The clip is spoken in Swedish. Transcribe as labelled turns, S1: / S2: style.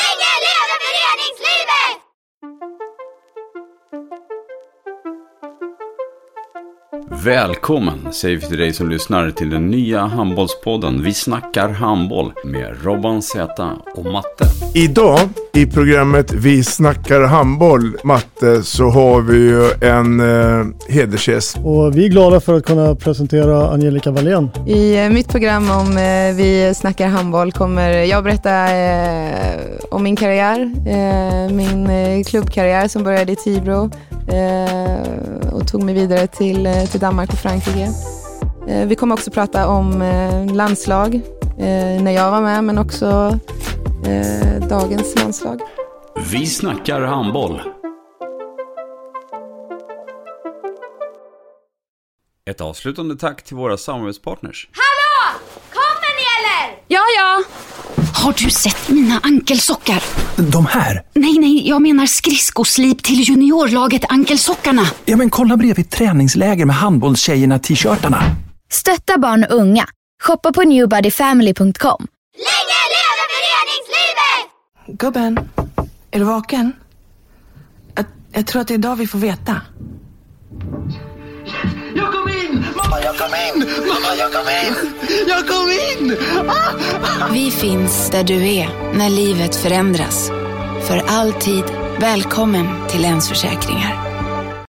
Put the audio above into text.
S1: Länge leve föreningslivet!
S2: Välkommen säger vi till dig som lyssnar till den nya handbollspodden Vi snackar handboll med Robban Z och Matte.
S3: Idag i programmet Vi snackar handboll, Matte, så har vi ju en eh, hedersgäst.
S4: Och vi är glada för att kunna presentera Angelica Wallén.
S5: I eh, mitt program om eh, Vi snackar handboll kommer jag berätta eh, om min karriär, eh, min eh, klubbkarriär som började i Tibro eh, och tog mig vidare till, eh, till Danmark och Frankrike. Eh, vi kommer också prata om eh, landslag, eh, när jag var med men också eh, dagens landslag.
S2: Vi snackar handboll. Ett avslutande tack till våra samarbetspartners.
S1: Hallå! Kommer ni eller?
S6: Ja, ja. Har du sett mina ankelsockar?
S7: De här?
S6: Nej, nej, jag menar skridskoslip till juniorlaget Ankelsockarna.
S7: Ja, men kolla bredvid träningsläger med handbollstjejerna-t-shirtarna.
S8: Stötta barn och unga. Shoppa på newbodyfamily.com.
S1: Länge leve föreningslivet!
S9: Gubben, är du vaken? Jag, jag tror att det är idag vi får veta.
S10: Jag kom in! Mamma, jag kom in! Mamma, jag kom in! Jag kom in! Ah!
S6: Vi
S10: finns
S6: där du är när livet förändras. För alltid välkommen till Länsförsäkringar.